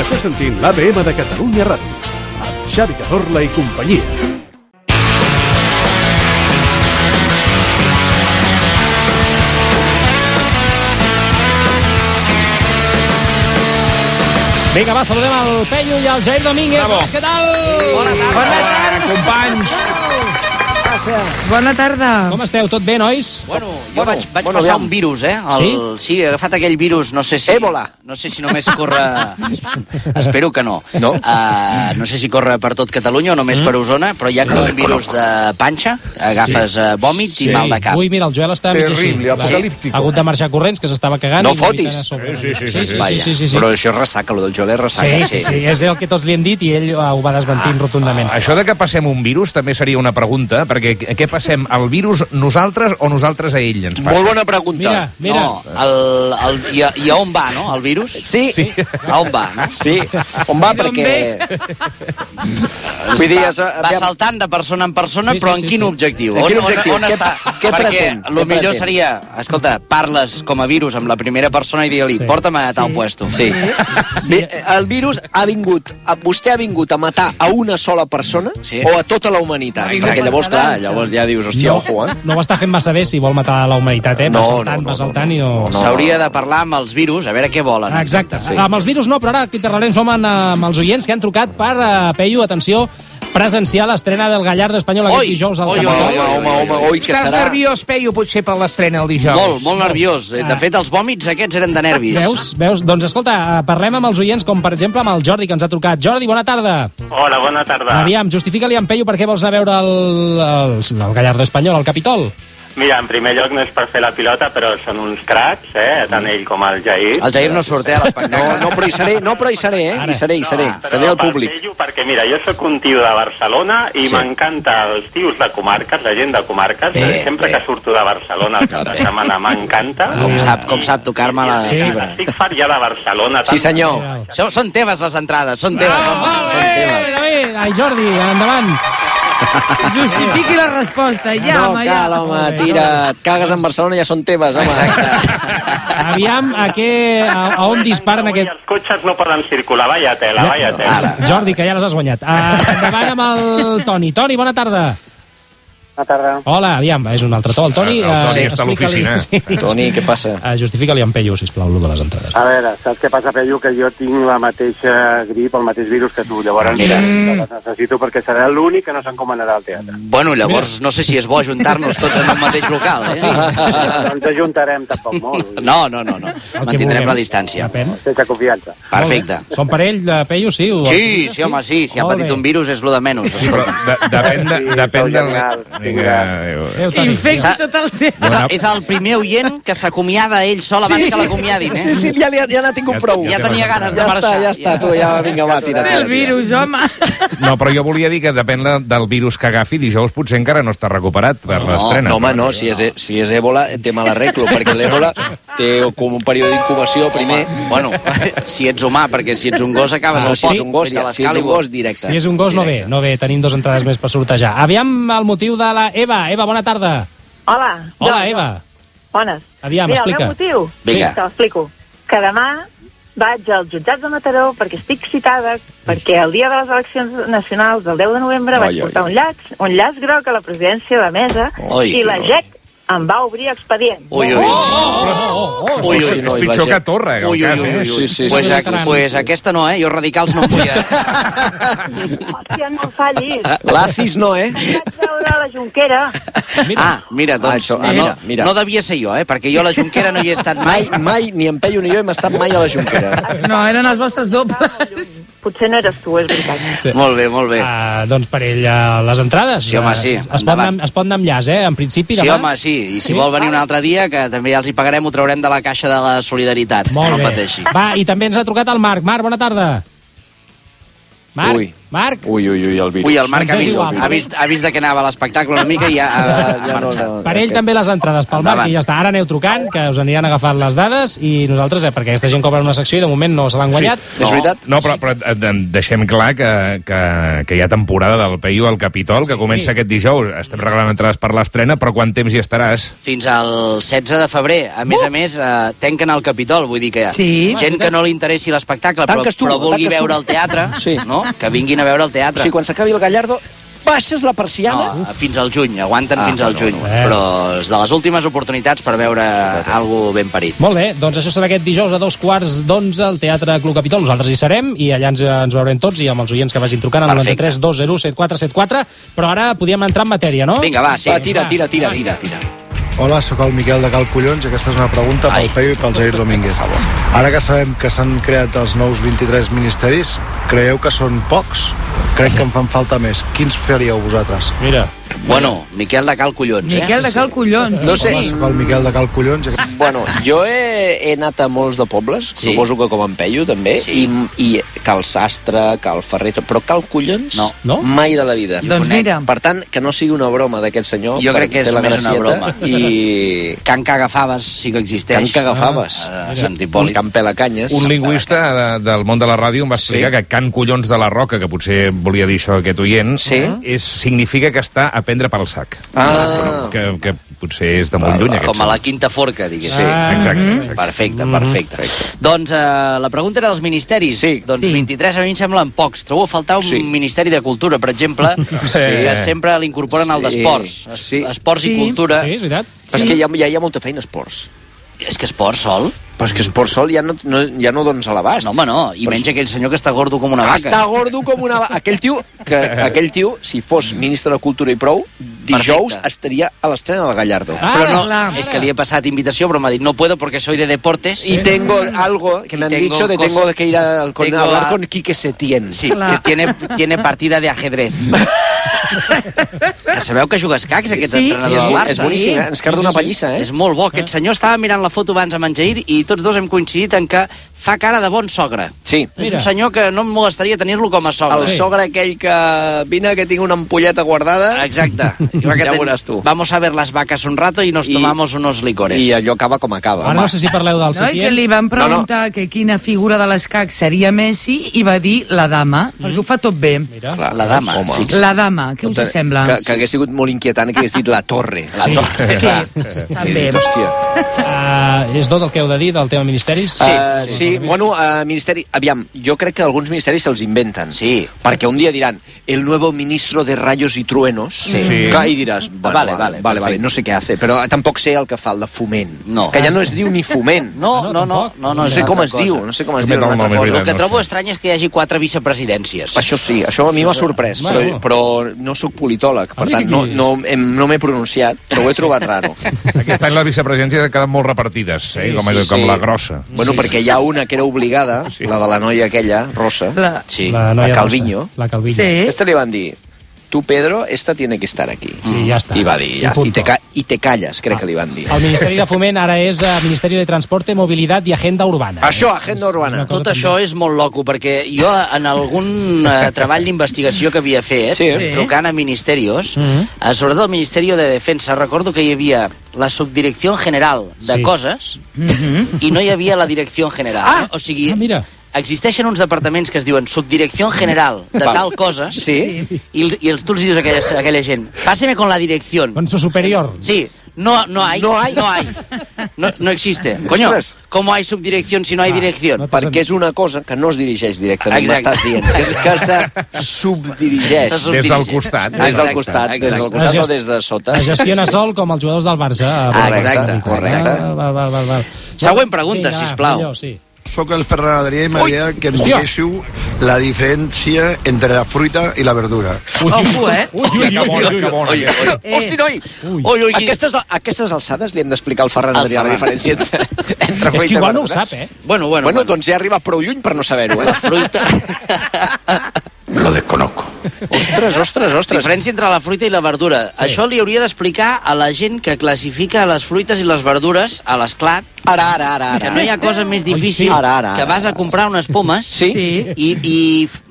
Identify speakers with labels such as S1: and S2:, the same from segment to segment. S1: Està sentint l'ABM de Catalunya Ràdio amb Xavi Cazorla i companyia.
S2: Vinga, va, saludem el Peyu i el Jair Domínguez.
S3: Bravo.
S2: Bones, Què tal? Bona tarda.
S3: Companys!
S4: Bona tarda.
S2: Com esteu? Tot bé, nois?
S5: Bueno, jo vaig, vaig
S3: Bueno,
S5: bueno, passar
S3: aviam.
S5: un virus, eh? El, sí? sí? he agafat aquell virus, no sé si... Ébola. No sé si només corre... es- Espero que no.
S3: No?
S5: Uh, no sé si corre per tot Catalunya o només mm. per Osona, però hi ha com un virus de panxa, agafes sí. vòmit sí. i mal de cap.
S2: Ui, mira, el Joel està mig així.
S6: Terrible, apocalíptico.
S2: eh? Ha hagut de marxar corrents, que s'estava cagant.
S5: No
S2: i li
S5: fotis.
S2: eviten a sobre.
S6: Sí,
S2: eh?
S6: sí, sí,
S2: sí, sí, sí,
S5: Vaja,
S2: sí, sí, sí.
S5: Però això és ressaca, lo del Joel és
S2: Sí,
S5: ressaca.
S2: sí, sí, és el que tots li hem dit i ell eh, ho va
S5: Ah,
S2: desmentint rotundament.
S6: Això de que passem un virus també seria una pregunta, perquè a què passem, al virus nosaltres o nosaltres a ell ens passa?
S3: Molt bona pregunta.
S2: Mira, mira.
S5: ah, No, el, el, i, a, i a on va, no, el virus? Sí. sí. A on va, no?
S3: Sí, on va? Perquè... Vull dir, es,
S5: Va saltant de persona en persona,
S2: Sí,
S5: sí,
S2: sí,
S5: però en
S2: sí,
S5: quin
S2: sí.
S5: objectiu?
S3: En quin
S5: on,
S3: objectiu?
S5: On, on
S3: Què-
S5: està?
S3: què
S5: Perquè
S3: pretén?
S5: el
S3: Què
S5: millor
S3: pretén?
S5: seria, escolta, parles com a virus amb la primera persona i digue-li,
S2: Sí.
S5: sí. porta'm a tal puesto.
S3: Sí. Bé, el virus ha vingut... a- Vostè ha vingut a matar a una sola persona
S5: Sí.
S3: o a tota la humanitat?
S5: Exacte, llavors, clar, llavors ja dius, hòstia,
S2: No,
S5: ojo, eh?
S2: no ho està fent massa bé si vol matar la humanitat, eh? Va
S3: No,
S2: saltant,
S3: no, no,
S2: va saltant i no...
S5: S'hauria de parlar amb els virus, a veure què volen.
S2: Ah, Exacte.
S5: Sí.
S2: Sí. Amb els virus no, però ara que parlarem som en, eh, amb els oients que han trucat per, uh, Peyu, atenció, presenciar l'estrena del Gallardo Espanyol
S5: Oi,
S2: aquest dijous al
S5: oi,
S2: Camp
S5: oi,
S2: Nou.
S3: Home, home, home, oi, que
S7: Estàs
S3: serà...
S7: nerviós, Peyu, potser per l'estrena el dijous?
S5: Molt, molt nerviós. De fet, els vòmits aquests eren de nervis.
S2: Veus? Veus? Doncs escolta, eh, parlem amb els oients, com per exemple amb el Jordi, que ens ha trucat. Jordi, bona tarda.
S8: Hola, bona tarda.
S2: Aviam, justifica-li en Peyu per què vols anar a veure el, el, el Gallardo Espanyol, al Capitol.
S8: Mira, en primer lloc no és per fer la pilota, però són uns cracs, eh?
S2: Mm-hmm.
S8: Tant ell com el Jair.
S5: El Jair no surt, eh, a
S3: No,
S5: l'espectacle.
S3: no, però hi seré, no, però hi seré, eh? Hi seré, hi seré.
S8: però
S3: Seré al
S8: per
S3: públic.
S8: Pello, perquè, mira, jo sóc un tio de Barcelona i
S3: Sí.
S8: m'encanta els tios de comarques, la gent de comarques.
S5: Bé,
S8: eh? Sempre
S5: bé.
S8: que surto de Barcelona el cap de
S5: Bé.
S8: setmana m'encanta.
S5: Com sap- com sap tocar-me la
S8: Sí.
S5: fibra.
S8: Estic fart ja de Barcelona.
S3: Sí,
S8: tant.
S3: senyor.
S5: Són, són teves les entrades, són teves,
S2: Ah,
S5: home, són teves.
S2: David, ai, Jordi, endavant.
S4: Justifiqui la resposta, ja,
S3: No
S4: home,
S3: cal,
S4: ja.
S3: home, tira, et cagues en Barcelona, ja són teves, home.
S2: Aviam a, què, a, a on disparen
S8: Avui
S2: aquest...
S8: Els cotxes no poden circular, vaya tela, vaya tela.
S2: Jordi, que ja les has guanyat. Uh, endavant amb el Toni. Toni, bona tarda.
S8: Bona tarda.
S2: Hola, aviam, és un altre to. El Toni,
S6: El Toni
S2: eh,
S6: està a
S2: explica-li-
S6: l'oficina.
S2: Sí.
S3: Toni, què passa?
S2: Eh, Justifica-li en Peyu, sisplau, lo de les
S5: Ah,
S2: entrades.
S8: A veure, saps què passa, Pello? Que jo tinc la mateixa grip, el mateix virus que tu. Llavors, mira, les necessito perquè serà l'únic que no s'encomanarà al teatre.
S5: Bueno, llavors, no sé si és bo ajuntar-nos tots en un mateix local, eh?
S8: no ens ajuntarem tampoc molt.
S5: No, no, no, no.
S2: El que
S5: Mantindrem
S2: vulguem.
S5: la distància.
S2: Depèn.
S8: Sense confiança.
S5: Perfecte.
S2: Són parell, de Peyu, sí? Ho-
S5: Sí, sí, home, sí. Si ha
S2: Molt
S5: patit
S2: bé.
S5: un virus és lo de menys.
S6: Sí, però de, depèn, de,
S8: Sí,
S6: depèn
S8: sou
S6: del...
S8: genials,
S6: Vinga, adéu.
S2: Adéu, Toni.
S4: Infecta
S5: S'ha-
S4: tot el temps.
S5: És, el- és el primer oient que s'acomiada ell sol abans que l'acomiadin, eh?
S3: Sí, sí, ja, li, ja n'ha tingut prou.
S5: Ja tenia ganes de
S3: Ja està,
S5: marxar.
S3: ja està, tu, ja, vinga, va, tira,
S4: Té
S3: tira.
S4: el virus, home.
S6: No, però jo volia dir que depèn la, del virus que agafi, dijous potser encara no està recuperat per l'estrena.
S3: No, home, no, si és, e- si és èbola, té mal arreglo, perquè l'èbola té com un període d'incubació primer.
S5: Bueno, si ets humà, perquè si ets un gos acabes
S3: Ah,
S5: al
S3: si
S5: pot,
S3: ets un gos,
S5: Vete a
S3: ja, si
S5: l'escala
S3: ets
S5: i
S3: un
S5: gos.
S3: gos, directe.
S2: Si és un gos, no ve, no ve. Tenim dos entrades més per sortejar. Aviam el motiu de la Eva. Eva, bona tarda.
S9: Hola.
S2: Hola,
S9: doncs,
S2: Eva.
S9: Bones.
S2: Aviam,
S9: Mira,
S2: explica.
S9: el meu motiu,
S5: Vinga.
S9: te l'explico, que demà vaig als jutjats de Mataró perquè estic citada, perquè el dia de les eleccions nacionals del 10 de novembre
S3: Ai,
S9: vaig
S3: ai,
S9: portar un llaç, un llaç groc a la presidència de la mesa
S5: Ai,
S9: i la
S5: que
S9: GEC em va obrir expedient.
S3: Oh!
S5: Ui, ui, ui,
S6: És,
S5: ui,
S6: és pitjor que Torra, en el
S5: ui, ui,
S6: cas,
S5: ui,
S6: eh?
S5: ui,
S3: Sí, sí,
S5: pues,
S2: sí,
S5: a,
S2: sí, sí.
S5: pues aquesta no, eh? Jo radicals no em volia...
S9: Hòstia, no em fallis.
S3: Ah, L'Acis no, eh?
S9: Vaig veure la Junquera.
S2: Mira.
S5: Ah, mira, doncs,
S3: Ah, això-
S5: no,
S3: ah, mira, mira.
S5: no devia ser jo, eh? Perquè jo a la Junquera no hi he estat mai.
S3: Mai, mai, ni en Peyu ni jo hem estat mai a la Junquera.
S4: No, eren els vostres dobles.
S9: Potser no eres tu, és veritat.
S5: Molt bé, molt bé.
S2: Ah, doncs per ell, eh, les entrades.
S5: Sí, home, sí,
S2: Eh, Es pot,
S5: endavant.
S2: anar, es pot anar amb llaç, eh? En principi,
S5: Sí,
S2: demà...
S5: home, sí. I si
S2: Sí?
S5: vol venir un altre dia, que també ja els hi pagarem, ho traurem de la caixa de la solidaritat.
S2: Molt
S5: no
S2: bé.
S5: pateixi.
S2: Va, i també ens ha trucat el Marc. Marc, bona tarda. Marc,
S3: Ui,
S2: Marc,
S3: Ui, ui, ui, el virus.
S5: Ui, el Marc ha
S2: Doncs és
S5: vist,
S2: igual.
S5: ha vist, ha vist de què anava l'espectacle una mica i ha, ha, ha
S3: Ja no,
S5: marxat.
S3: no,
S2: per ell també les entrades pel
S5: Endavant.
S2: Marc i ja està. Ara aneu trucant, que us aniran agafant les dades i nosaltres, eh, perquè aquesta gent cobra una secció i de moment no se l'han guanyat.
S3: És veritat?
S6: No, però, però eh, de- deixem clar que, que, que hi ha temporada del Peyu al Capitol, que comença aquest dijous. Estem regalant entrades per l'estrena, però quant temps hi estaràs?
S5: Fins al 16 de febrer. A
S2: Uh!
S5: més a més, eh, tenquen el Capitol, vull dir que
S4: Sí.
S5: gent que no li interessi l'espectacle, però,
S3: Tanques tu,
S5: però vulgui
S3: tanques tu.
S5: veure el teatre,
S3: Sí.
S5: no? que vinguin a veure el
S3: O
S5: teatre.
S3: sigui, quan s'acabi el Gallardo, baixes la persiana...
S5: No, eh, fins al juny, aguanten
S3: Ah,
S5: fins al
S3: no,
S5: juny.
S3: no,
S2: eh.
S5: Però és de les últimes oportunitats per veure algo ben parit.
S2: Molt bé, doncs això serà aquest dijous a dos quarts d'onze al Teatre Club Capitol. Nosaltres hi serem i allà ens, ens veurem tots i amb els oients que vagin trucant al
S5: Perfecte.
S2: 93 201 7474. Però ara podíem entrar en matèria, no?
S5: Vinga, va, sí.
S3: Va, tira, tira, tira, tira. tira.
S10: Hola, sóc el Miquel de Cal Collons i aquesta és una pregunta pel
S5: Ai.
S10: Peyu i pel Jair Domínguez. Ara que sabem que s'han creat els nous 23 ministeris, creieu que són pocs? Crec que en fan falta més. Quins faríeu vosaltres?
S2: Mira,
S5: Bueno, Miquel de Cal Collons, eh?
S4: Miquel de Cal Collons.
S3: No sé,
S10: Hola, sóc el Miquel de Cal Collons i aquesta...
S3: Bueno, jo he, he anat a molts de pobles,
S5: Sí.
S3: sí. suposo que com en Peyu també,
S5: Sí.
S3: sí. i, i cal sastre, cal ferrer, tot, però cal collons
S5: No.
S2: No?
S3: mai de la vida.
S4: Doncs
S5: conec.
S4: mira,
S3: Per tant, que no sigui una broma d'aquest senyor.
S5: Jo crec
S3: perquè
S5: que és
S3: té la
S5: més una
S3: gracieta
S5: broma.
S3: I
S5: Can que agafaves sí que existeix.
S3: Can que agafaves.
S5: Ah, a Sant Hipòlit.
S3: Can Pelacanyes.
S6: Un lingüista de, del món de la ràdio em va explicar sí.
S3: Sí.
S6: que Can Collons de la Roca, que potser volia dir això aquest oient,
S3: Sí.
S6: és, significa que està a prendre pel sac.
S3: Ah.
S6: Que, que potser és de molt lluny, aquest
S5: Com a la
S6: senyor.
S5: quinta forca, diguéssim. Mm-hmm.
S6: Sí, exacte. exacte.
S5: Perfecte, perfecte. Doncs eh, la pregunta era dels ministeris.
S3: Sí.
S5: Doncs
S4: Sí.
S5: 23 a mi em semblen pocs. Trobo a faltar un
S3: Sí.
S5: ministeri de cultura, per exemple, que sempre l'incorporen al
S3: Sí.
S5: d'esports. Es-
S3: Sí.
S5: Esports
S4: Sí.
S5: i cultura.
S2: sí, és veritat.
S3: Però és que ja, ja hi ha molta feina a esports.
S5: És que esport sol?
S3: Però és que esports sol ja no, no, ja no dones a l'abast.
S5: No, home, no. I
S3: Però
S5: menys aquell senyor que està gordo com una vaca.
S3: Està gordo com una... va- Aquell tio, que, aquell tio, si fos ministre de Cultura i prou, dijous
S5: Perfecte.
S3: estaria a l'estrena del Gallardo.
S2: Ah,
S5: Però no,
S4: Ara, clar.
S5: és que li he passat invitació, però m'ha dit no puedo porque soy de deportes.
S3: Y tengo
S2: Mm.
S3: algo que
S5: Y
S3: me han
S5: tengo
S3: dicho de
S5: cos-
S3: tengo que ir a, con-
S5: tengo
S3: a hablar
S5: a-
S3: con Quique Setién.
S5: Sí,
S4: Clar.
S5: que tiene, tiene partida de ajedrez. que sabeu que juga a escacs, aquest
S4: Sí,
S5: entrenador
S4: sí,
S5: del
S4: bo-
S5: Barça.
S3: és boníssim, eh? ens carda una
S2: Sí, sí, sí.
S3: pallissa, eh?
S5: És molt bo. Aquest senyor estava mirant la foto abans amb en Jair i tots dos hem coincidit en que fa cara de bon sogre.
S3: Sí.
S5: És
S2: Mira.
S5: un senyor que no em molestaria tenir-lo com a
S3: El
S5: sogre.
S2: Sí.
S3: sogre aquell que vine que tinc una ampolleta guardada
S5: Exacte. Jo crec que
S3: Ja
S5: ten-
S3: veuràs tu.
S5: Vamos a ver las vacas un rato y nos
S3: I-
S5: tomamos unos licores.
S3: i allò acaba com acaba.
S2: Ara no sé si parleu del
S4: No, i que
S2: Setién.
S4: li van preguntar que quina figura de l'escac seria Messi i va dir la dama,
S3: Mm.
S4: perquè ho fa tot bé.
S2: Mira.
S3: Clar,
S5: La dama,
S3: home.
S5: fixa't.
S4: La dama, què us
S3: Que-
S4: sembla?
S3: Tota- Que, que hagués sigut molt inquietant que hagués dit la torre. La
S2: Sí.
S3: torre.
S4: Sí,
S3: clar.
S4: també.
S3: He dit, Hòstia.
S2: Uh, és tot el que heu de dir del tema ministeris?
S3: Sí, uh, sí. bueno, uh, ministeri... Aviam, jo crec que alguns ministeris se'ls inventen. Sí. Perquè un dia diran, el nuevo ministro de rayos y truenos. Sí.
S6: Sí.
S3: Clar, I diràs, bueno,
S5: Vale, vale,
S3: vale, vale, vale, vale, no sé què hace, però tampoc sé el que fa el de foment.
S5: No.
S3: Que ja no es diu ni foment.
S5: No, no, no.
S2: tampoc.
S5: No, no,
S3: Ah, No
S5: és
S3: sé
S5: una
S3: com
S5: altra
S3: es
S5: cosa.
S3: diu, no sé com es
S6: També
S3: diu.
S6: no,
S3: una
S6: no,
S3: altra
S6: no,
S3: cosa.
S5: El que
S6: no.
S5: trobo estrany és que hi hagi quatre vicepresidències.
S3: Això sí, això a mi m'ha sorprès, però,
S2: Bueno.
S3: però no sóc politòleg, per
S2: A mi
S3: tant
S2: què
S3: no,
S2: dius?
S3: no, em- no m'he pronunciat, però ho he trobat raro.
S6: Aquest any les vicepresidències han quedat molt repartides, eh? com,
S3: sí,
S6: sí, com
S3: sí.
S6: la grossa.
S3: Bueno,
S5: Sí,
S3: perquè
S5: sí,
S3: hi ha una que era obligada, la de la noia aquella, rossa.
S4: La...
S5: Sí.
S2: La, noia
S3: la Calviño.
S2: rossa, La Calviño.
S4: Sí.
S3: Esta li van dir, tu, Pedro, esta tiene que estar aquí.
S2: I ja està.
S3: I va dir,
S2: I
S3: ja, i, te,
S2: punto. Ah,
S3: ca i te calles, crec que li van dir.
S2: El Ministeri de Foment ara és eh, Ministeri de Transporte, Mobilitat i Agenda Urbana.
S3: Això,
S2: És-
S3: agenda
S2: és una
S3: urbana.
S2: cosa
S5: Tot això és molt loco, perquè jo en algun eh, treball d'investigació que havia fet, eh,
S3: Sí.
S5: trucant a ministerios,
S2: Mhm.
S5: eh, sobretot al Ministeri de Defensa, recordo que hi havia la Subdirecció General de
S2: Sí.
S5: Coses
S3: Mhm.
S5: i no hi havia la Direcció General. Ah! O sigui,
S2: Ah, mira.
S5: existeixen uns departaments que es diuen Subdirecció General de
S3: Val.
S5: tal cosa
S3: Sí.
S5: i, el- i els, tu els dius a aquella, a aquella gent, páseme con la direcció.
S2: Con su doncs superior.
S5: Sí, no, no hay, no hay, no hay. No, no existe. Coño,
S3: Ostres.
S5: ¿cómo hay subdirección si no hay dirección?
S2: no
S3: Perquè és una cosa que no es dirigeix directament,
S5: Exacte.
S3: m'estàs dient. És que se subdirigeix.
S5: Se
S6: Des del
S5: subdirigeix.
S6: costat.
S3: Des del
S5: Exacte,
S3: costat, des del
S5: exacte.
S3: costat
S2: La
S3: no
S2: gest-
S3: des de sota.
S2: Es gestiona sol com els jugadors del Barça. eh,
S5: Ah, exacte,
S3: correcte.
S2: Ah, va, va, va, va.
S5: Següent pregunta,
S2: va,
S5: sisplau.
S2: millor, sí.
S10: Sóc el Ferran Adrià i m'agradaria que ens
S2: Hòstia.
S10: diguéssiu la diferència entre la fruita i la verdura.
S4: Ojo, eh?
S6: Ui, que bona, que bona.
S3: Oi, oi.
S4: Eh.
S3: Hosti, noi!
S2: Ui.
S3: Oi, oi, aquestes, aquestes alçades li hem d'explicar al Ferran
S5: Al
S3: Adrià la
S5: Ferran.
S3: diferència entre, entre
S2: És que
S3: fruita i
S2: igual no ho
S3: verdura.
S2: sap, eh?
S5: Bueno, bueno,
S3: Bueno, doncs ja ha arribat prou lluny per no saber-ho, eh?
S5: fruita...
S10: Lo desconozco.
S5: Ostres, ostres, ostres. Diferència entre la fruita i la verdura. Sí. Això li hauria d'explicar a la gent que classifica les fruites i les verdures a l'esclat. Ara, ara, ara, ara. Que no hi ha cosa més difícil
S3: Ai, sí. Ara, ara,
S5: que
S3: ara,
S5: vas a comprar unes pomes
S3: Sí.
S5: i, i,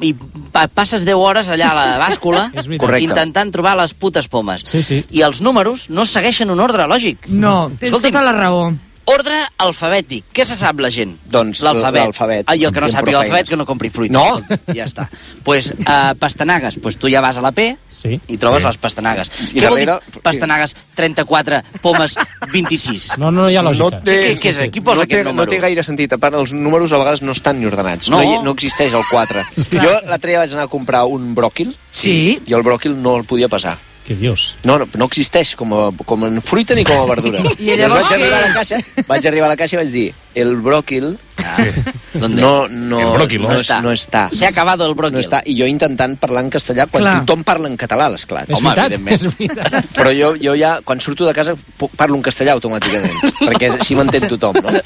S5: i pa- passes 10 hores allà a la bàscula
S3: És veritat. Correcte.
S5: intentant trobar les putes pomes.
S2: Sí, sí.
S5: I els números no segueixen un ordre lògic.
S4: No, tens
S5: Escolti'm.
S4: tota la raó.
S5: Ordre alfabètic. Què se sap la gent?
S3: Doncs l'alfabet.
S5: Ah, I el que no
S3: Compro
S5: sàpiga l'alfabet,
S3: feines.
S5: que no compri fruita.
S3: No.
S5: Ja està. Doncs pues, uh, pastanagues. Doncs pues, tu ja vas a la P
S2: Sí.
S5: i trobes
S6: Sí.
S5: les pastanagues.
S3: I
S5: Què vol dir
S3: darrere-
S5: pastanagues 34, pomes 26?
S2: No, no hi ha lògica.
S3: té-
S5: Què- què és? Qui posa
S3: no
S5: aquest
S3: té,
S5: número?
S3: No té gaire sentit. A part, els números a vegades no estan ni ordenats. No,
S5: No.
S3: no, hi, no existeix el 4. Jo l'altre dia vaig anar a comprar un bròquil
S4: Sí.
S3: i el bròquil no el podia passar.
S2: Què dius?
S3: No, no, no existeix com a, com en fruita ni com a verdura.
S4: I llavors
S3: vaig
S4: què
S3: arribar, a la
S4: és?
S3: caixa, vaig arribar a la caixa i vaig dir el bròquil
S5: Donde?
S3: no, no,
S6: El bròquil,
S3: no,
S6: no
S3: està. no està.
S5: Se ha acabado el bròquil.
S3: No està. I jo intentant parlar en castellà quan
S4: Clar.
S3: Clar. tothom parla en català, a l'esclat.
S2: És
S5: Home,
S2: veritat,
S5: evidentment.
S2: és veritat.
S3: Però jo, jo ja, quan surto de casa, puc- parlo en castellà automàticament, perquè és- així m'entén tothom, no?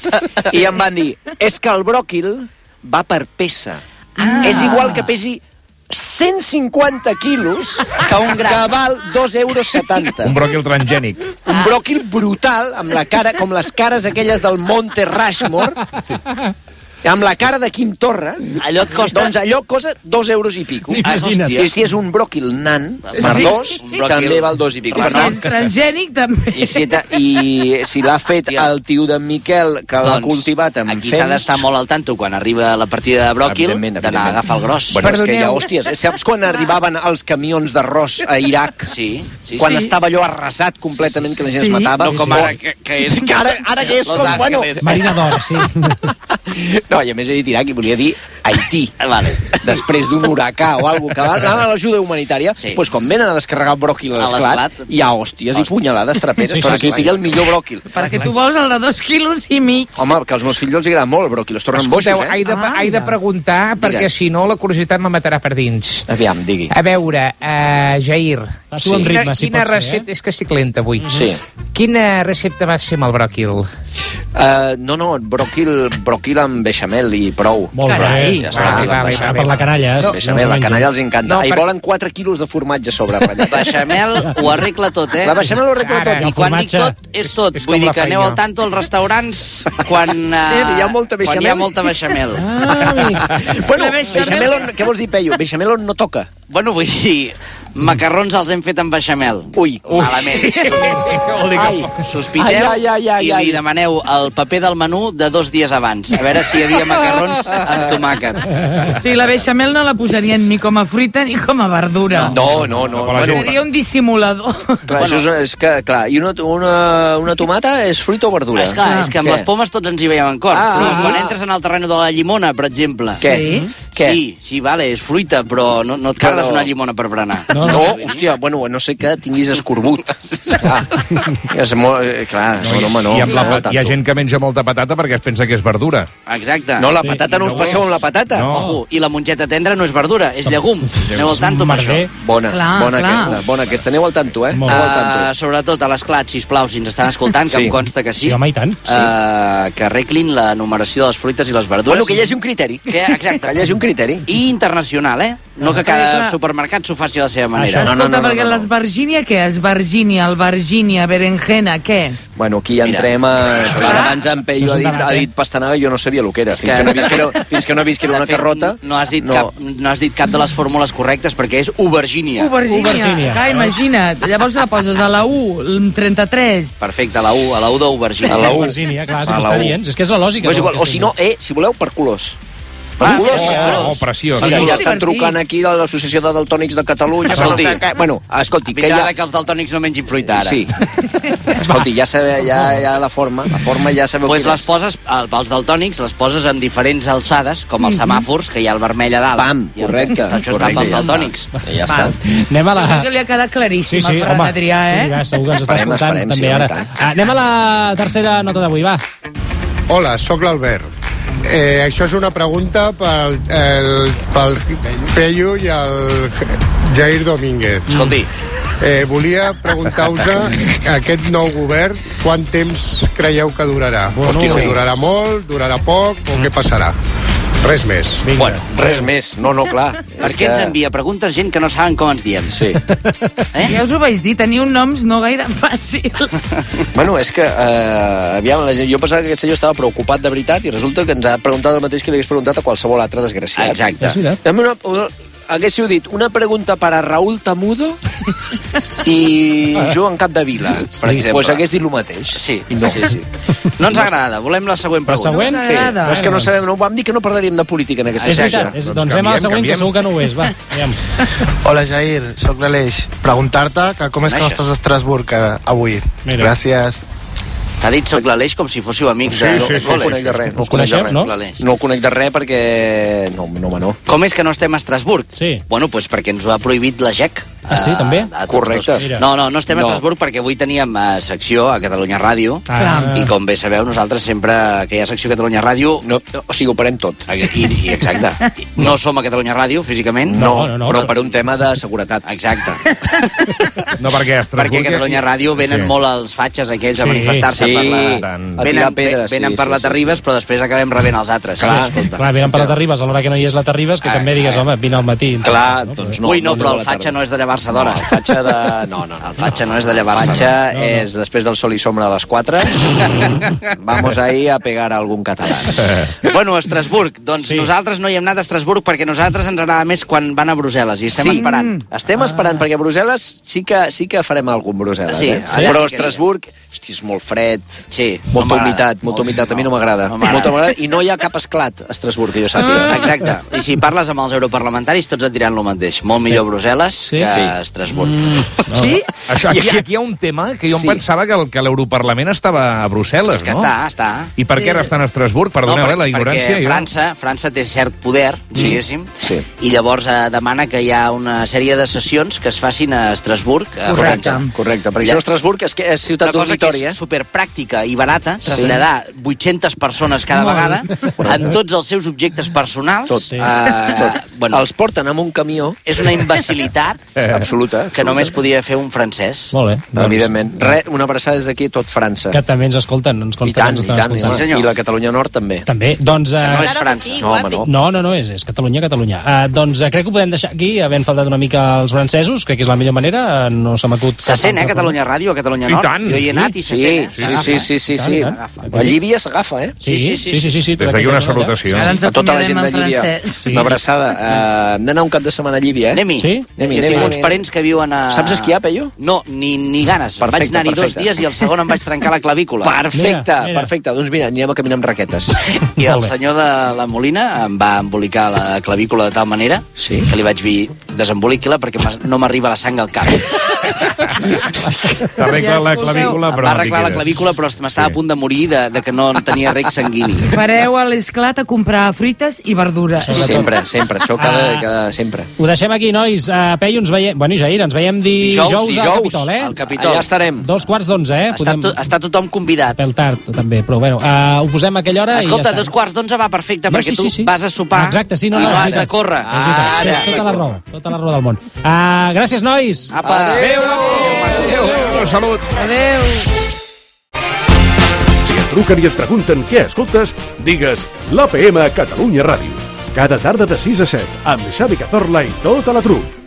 S3: I em van dir, és que el bròquil va per pesa. Ah. És igual que pesi 150 quilos que un gram. que val 2,70 euros.
S6: Un bròquil transgènic.
S3: Un bròquil brutal, amb la cara, com les cares aquelles del Monte Rushmore, sí. amb la cara de Quim Torra,
S5: Allò et costa-
S3: Doncs allò cosa dos euros i pico.
S2: Ah, Imagina't.
S3: I si és un bròquil nan, merdós,
S5: Un bròquil-
S3: també val dos i pico.
S4: I
S5: Clar,
S3: Per
S4: si
S3: tant,
S4: és transgènic, també.
S3: i si, ta- i si l'ha fet
S5: Hòstia.
S3: el tio d'en Miquel, que l'ha
S5: Doncs,
S3: cultivat amb
S5: Aquí s'ha d'estar molt al tanto quan arriba la partida de bròquil
S3: Evidentment,
S5: d'anar a
S3: evidentment.
S5: agafar el gros.
S3: Bueno, és que ja,
S7: Perdoneu.
S3: hòsties, eh, saps quan arribaven els camions d'arròs a Iraq?
S5: Sí, sí,
S3: quan
S5: sí.
S3: estava allò arrasat completament, que la gent
S4: Sí.
S3: es matava.
S5: No com ara, que, que és...
S3: Que ara- ara que és
S5: Los
S3: com, bueno,
S5: Ángeles.
S2: Marina d'Or, sí.
S3: No, i a més he dit Iraq i volia dir Haití. Vale. Després d'un huracà o alguna cosa que va anar a l'ajuda humanitària,
S5: Sí.
S3: sí. doncs quan venen a descarregar bròquil a
S5: A
S3: l'esclat,
S5: l'esclat.
S3: hi ha hòsties,
S5: Hòsties.
S3: i punyalades traperes,
S2: Sí,
S3: sí,
S2: sí,
S3: per aquí
S2: sí.
S3: pilla el millor bròquil.
S4: Perquè tu vols el de dos quilos i mig.
S3: Home, que als meus fills els agrada molt el bròquil, es tornen
S7: Escolteu,
S3: boixos, eh?
S7: he de,
S4: Ah,
S7: he de
S4: mira.
S7: preguntar, perquè
S3: Digues.
S7: si no la curiositat me matarà per dins.
S3: Aviam, digui.
S7: A veure,
S6: eh,
S7: uh, Jair,
S2: Passo amb ritme, si
S7: quina
S2: pot ser, eh?
S7: recepta... És que estic lenta avui.
S6: Mhm.
S3: Sí.
S7: Quina recepta vas fer amb el bròquil?
S3: Uh, no, no, bròquil, bròquil amb beixamel i prou.
S2: Molt
S4: Carai.
S2: bé.
S3: Ja està,
S7: Vale,
S3: amb
S7: vale,
S3: beixamel.
S7: vale.
S2: Per la canalla. eh?
S3: Beixamel, la canalla els encanta.
S7: No,
S3: No, Ai,
S7: per-
S3: volen 4 quilos de formatge a sobre ratllat.
S5: Beixamel ho arregla tot, eh?
S3: La beixamel ho arregla
S7: Ara,
S3: tot.
S7: no
S5: I quan dic
S2: formatge.
S5: tot, és tot.
S7: És- és
S5: Vull
S7: com
S5: dir
S7: la
S5: que aneu
S7: feina.
S5: al tanto als restaurants quan, eh,
S3: Si hi ha molta
S5: quan hi ha
S3: beixamel.
S5: molta beixamel.
S2: Ah, amic.
S3: Bueno,
S4: La beixamel-
S3: beixamel, on, què vols dir, Peyu? Beixamel on no toca.
S5: Bueno, vull dir, macarrons els hem fet amb beixamel.
S3: Ui.
S5: Malament. Ai, sospiteu
S3: Ai, ai, ai, ai,
S5: i li
S3: ai.
S5: demaneu el paper del menú de dos dies abans, a veure si hi havia macarrons amb tomàquet.
S3: Ah.
S4: Sí, la beixamel no la posarien ni com a fruita ni com a verdura.
S3: No, no, no.
S6: Bueno,
S4: Seria un dissimulador.
S3: Clar, bueno. això és, és que, clar, i una, una, una tomata és fruita o verdura?
S5: És clar, és que amb
S3: Què?
S5: les pomes tots ens hi veiem en cor.
S3: Ah,
S5: però
S3: sí.
S5: quan entres en el terreny de la llimona, per exemple...
S3: Què?
S4: Sí.
S3: Què?
S5: Sí, sí, vale, és fruita, però no, no et
S3: Però-
S5: carles una llimona per berenar.
S3: No, no, Oh, hòstia, bueno, a no sé que tinguis escorbut. Ah, és molt... eh, Clar, no, no, home, no.
S6: I amb la,
S3: no,
S6: pat- hi ha gent que menja molta patata perquè es pensa que és verdura.
S5: Exacte.
S3: No, la
S2: Sí,
S3: patata no us
S2: no.
S3: passeu amb la patata.
S6: No.
S5: Ojo, i la mongeta tendra no és verdura, és llegum. Aneu al tanto amb això.
S2: Merder.
S3: Bona,
S4: Clar,
S3: bona
S4: clar.
S3: aquesta, bona aquesta. Aneu al tanto, eh?
S2: Molt.
S3: Aneu al
S5: Uh,
S3: tanto.
S5: sobretot a l'esclat, sisplau, si ens estan escoltant, que
S3: Sí.
S5: em consta que sí,
S2: Sí, home, i tant.
S5: Uh, que arreglin la numeració de les fruites i les verdures.
S3: Bueno, que hi hagi un criteri.
S5: Que, exacte.
S3: Que hi hagi un criteri.
S5: I internacional, eh? No que
S4: Sí,
S5: cada
S4: clar.
S5: supermercat s'ho faci de la seva
S2: Això
S5: manera.
S2: és
S4: Escolta,
S5: No,
S3: no, no, no,
S4: perquè
S3: no.
S4: l'esvergínia què? Esvergínia, albergínia, berenjena, què?
S3: Bueno, aquí ja
S5: Mira.
S3: entrem a...
S5: Clar.
S3: Abans en Peyu
S2: Això és
S3: ha
S2: un
S3: dit,
S2: debat,
S3: ha
S2: eh?
S3: dit pastanaga i jo no sabia el que era. Fins
S5: que-
S3: que no visc que era, fins que no visc que era
S5: De
S3: una
S5: fet,
S3: carrota...
S5: No has, dit no. Cap, no has dit cap de les fórmules correctes perquè és aubergínia.
S4: Ubergínia.
S2: Aubergínia.
S4: Clar, imagina't. Llavors la poses a la U, el 33.
S5: Perfecte, a la U, a la U d'aubergínia.
S3: A la U.
S2: Virgínia, clar, si
S3: A
S2: m'ho
S3: la
S2: està
S3: U.
S2: dient. És que és la lògica.
S3: No és
S2: del
S3: igual,
S2: que
S3: o si no, eh, si voleu, per colors. Per
S5: Ah,
S3: colors.
S5: sí,
S6: Oh, oh preciós.
S3: Mira,
S4: molt
S3: ja estan
S4: divertit.
S3: trucant aquí de l'Associació de Daltònics de Catalunya.
S5: Escolti.
S3: Escolti, bueno, escolti, que
S5: Pitjada
S3: ja...
S5: que els daltònics no mengin fruita ara.
S3: Sí. Escolti, ja sabeu, ja, ja la forma, la forma ja sabeu
S5: Pues
S3: quina
S5: les
S3: és.
S5: poses, eh, pels daltònics, les poses en diferents alçades, com els semàfors, que hi ha el vermell a dalt.
S3: Mhm. Pam,
S5: I el-
S3: correcte,
S5: Això està
S3: correcte,
S5: pels
S3: ja està.
S5: daltònics.
S3: Ja està.
S2: Anem a la...
S4: Crec que li ha quedat claríssim a Ferran Adrià, eh?
S2: Ja, segur que ens està
S3: Esperem,
S2: escoltant
S3: esperem, sí,
S2: també
S3: home,
S2: ara.
S3: i tant.
S2: Ah, anem a la tercera nota d'avui, va.
S11: Hola, sóc l'Albert. Eh, això és una pregunta pel, el, pel Peyu i el Jair Domínguez.
S5: Escolti,
S11: Eh, volia preguntar-vos a aquest nou govern quant
S6: Mm.
S11: temps creieu que durarà. Bueno, si durarà molt, durarà poc o què passarà? Res més.
S3: Vinga. Bueno, res més. No, no, clar.
S5: Per què ens envia preguntes gent que no saben com ens diem?
S3: Sí.
S4: Eh? Ja us ho vaig dir, teniu noms no gaire fàcils.
S3: Bueno, és que eh, aviam, la gent, jo pensava que aquest senyor estava preocupat de veritat i resulta que ens ha preguntat el mateix que li hagués preguntat a qualsevol altre desgraciat.
S5: Exacte. És veritat.
S3: Dame Una, una, haguéssiu dit una pregunta per a Raül Tamudo i Joan Capdevila, sí, per exemple. Pues hagués dit el mateix.
S5: Sí,
S3: I no.
S5: sí, sí. No ens agrada, volem la següent pregunta.
S3: No ens agrada. Sí. No, és que no sabem, no vam dir que no parlaríem de política en aquesta
S2: doncs- És veritat,
S3: sessió.
S2: és, doncs, anem a la següent, que segur que no ho és, va. Aviam.
S12: Hola, Jair, sóc l'Aleix. Preguntar-te que com és que no
S5: Coneixes?
S12: estàs a Estrasburg eh, avui.
S5: Mira.
S12: Gràcies.
S5: T'ha dit soc l'Aleix com si fóssiu amics
S3: Sí,
S5: de...
S3: sí, sí,
S5: no,
S3: sí,
S5: conec
S3: sí,
S5: de
S3: sí.
S5: res.
S3: Us coneixeu,
S5: conec de
S3: no?
S5: res, l'Aleix.
S3: No ho conec de res perquè... No, no, home, no.
S5: Com és que no estem a Estrasburg?
S2: Sí.
S5: Bueno, doncs perquè ens ho ha prohibit la GEC.
S2: Ah, sí, també?
S5: A, a tots
S3: Correcte.
S5: dos.
S3: Mira.
S5: No, no, no estem a
S3: No.
S5: Estrasburg perquè avui teníem eh, secció a Catalunya Ràdio
S3: Ah.
S5: i com bé sabeu nosaltres sempre que hi ha secció a Catalunya Ràdio... No,
S3: o sigui, ho parem tot.
S5: I, i exacte. No som a Catalunya Ràdio físicament,
S3: No, no, no, però per un tema de seguretat.
S5: Exacte.
S6: No, perquè
S5: Perquè a Catalunya Ràdio venen
S6: Sí.
S5: sí. molt els fatxes aquells
S6: Sí,
S5: a manifestar-se
S6: sí,
S5: per la...
S6: tant.
S2: A tirar
S5: Venen,
S2: pedres,
S5: venen
S2: sí,
S5: per
S2: sí,
S5: la
S2: sí,
S5: Terribas, però després acabem rebent els altres.
S2: Clar, clar venen per la Terribas, a l'hora que no hi és la Terribas, que també digues, home, vine al matí.
S5: Clar, doncs no. Ui, no, però
S2: a la
S5: el fatxa
S2: tarda.
S5: no és de llevar-se d'hora.
S2: No,
S5: el fatxa de... No, no, no. El fatxa no és de llevar-se d'hora.
S3: Panxa no, no. és després del sol i sombra a les 4. Vamos ahí a pegar a algun català.
S5: Bueno, a Estrasburg. Doncs sí. nosaltres no hi hem anat a Estrasburg perquè nosaltres ens agrada més quan van a Brussel·les i estem
S3: Sí.
S5: esperant.
S3: Estem ah. esperant, perquè a Brussel·les sí que, sí que farem algun Brussel·les.
S5: Sí,
S3: eh?
S5: sí, sí
S3: Però a
S5: que
S3: Estrasburg, hosti, és molt fred.
S5: Sí,
S3: molta
S5: no m'agrada.
S3: humitat, molta humitat. A mi no m'agrada.
S5: no m'agrada. Ah,
S3: molta m'agrada. I no hi ha cap esclat a Estrasburg, que jo sàpiga.
S5: Exacte. I si parles amb els europarlamentaris, tots et diran el mateix. Molt
S3: Sí.
S5: sí. millor Brussel·les
S3: Sí?
S5: sí. que
S3: Sí.
S5: sí. Estrasburg.
S6: No.
S5: Sí?
S6: Ah, Això, aquí, aquí hi ha un tema que jo sí.
S5: Sí.
S6: em pensava que el- que l'Europarlament estava a Brussel·les,
S5: És que
S6: no?
S5: està, està.
S6: I per què ara estan a Estrasburg? Perdoneu,
S5: per-
S6: eh, la ignorància.
S5: Perquè França, França té cert poder, diguéssim,
S3: Sí.
S5: i llavors eh, demana que hi ha una sèrie de sessions que es facin a Estrasburg. a
S3: Correcte,
S5: França.
S3: correcte. Perquè això a Estrasburg és, que és ciutat
S5: una cosa
S3: dormitori,
S5: que
S3: eh?
S5: és superpràctica i barata, traslladar 800 persones cada
S3: Molt.
S5: vegada amb tots els seus objectes personals.
S3: Tot.
S5: Eh,
S3: Tot.
S5: Bueno,
S3: Ah, Els porten amb un camió.
S5: és una imbecilitat
S3: absoluta,
S5: que només podia fer un francès.
S2: Molt bé. doncs,
S3: Evidentment. Re, una abraçada des d'aquí a tot França.
S2: Que també ens escolten, ens
S3: I
S2: consta
S3: tant,
S2: que ens
S3: i
S2: estan
S3: tant.
S2: escoltant.
S3: I la Catalunya Nord també.
S2: També, doncs... eh,
S3: no és Claro que França. sí,
S2: no, home,
S3: guapi.
S2: no. no, no, no és, és Catalunya, Catalunya. Uh, doncs uh, crec que ho podem deixar aquí, havent faltat una mica els francesos, crec que és la millor manera, uh, no se m'acut...
S5: Se sent, eh, Catalunya Ràdio, a Catalunya Nord. Jo hi he anat i se sent, eh?
S3: Sí, sí, sí, sí, sí. A Llívia s'agafa, eh?
S2: Sí, sí, sí, sí, sí, sí.
S6: Des d'aquí una salutació.
S3: Sí, a tota la gent de Llívia.
S6: Sí.
S3: Una abraçada. Eh, Hem d'anar un cap de setmana a Llívia, eh?
S5: Anem-hi.
S3: Sí? Anem-hi,
S5: jo tinc
S3: anem
S5: uns parents que viuen a...
S3: Saps esquiar, Peyu?
S5: No, ni, ni ganes.
S3: Perfecte,
S5: vaig anar-hi dos
S3: perfecte.
S5: dies i el segon em vaig trencar la clavícula.
S3: Perfecte, perfecte. Doncs mira, anirem a caminar amb raquetes.
S5: I el senyor de la Molina em va embolicar la clavícula de tal manera sí. que li vaig dir desemboliqui-la perquè m'as- no m'arriba la sang al cap.
S6: T'arregla la clavícula,
S5: Em va
S6: però no t'hi
S5: arreglar la
S6: quedes.
S5: clavícula, però m'estava sí. a punt de morir de, de que no en tenia rec sanguini.
S4: Pareu a l'esclat a comprar fruites i verdures.
S3: Sempre, sempre. Això cada, cada sempre.
S2: Ho deixem aquí, nois. Uh, Peyu, ens veiem... Bueno, i Jair, ens veiem dijous, al
S5: Dijous, dijous,
S2: Capitol, eh?
S5: al Capitol. Allà estarem.
S2: Dos quarts d'onze, eh?
S5: Està, to, està tothom convidat.
S2: Pel tard, també, però bueno, uh, ho posem a aquella hora
S5: Escolta,
S2: i ja
S5: dos quarts d'onze va perfecte,
S2: No,
S5: perquè
S2: sí,
S5: tu
S2: sí, sí.
S5: vas a sopar
S2: Exacte, sí, no, no,
S5: i
S2: és
S5: no has
S2: veritat.
S5: de córrere.
S2: És veritat.
S5: Ara.
S2: Tens tota la raó, tota la raó del món. Uh, gràcies, nois!
S5: Apa.
S6: Adéu, adéu, adéu, salut.
S4: Adéu.
S1: Si et truquen i et pregunten què escoltes, digues l'APM a Catalunya Ràdio. Cada tarda de 6 a 7, amb Xavi Cazorla i tota la trup.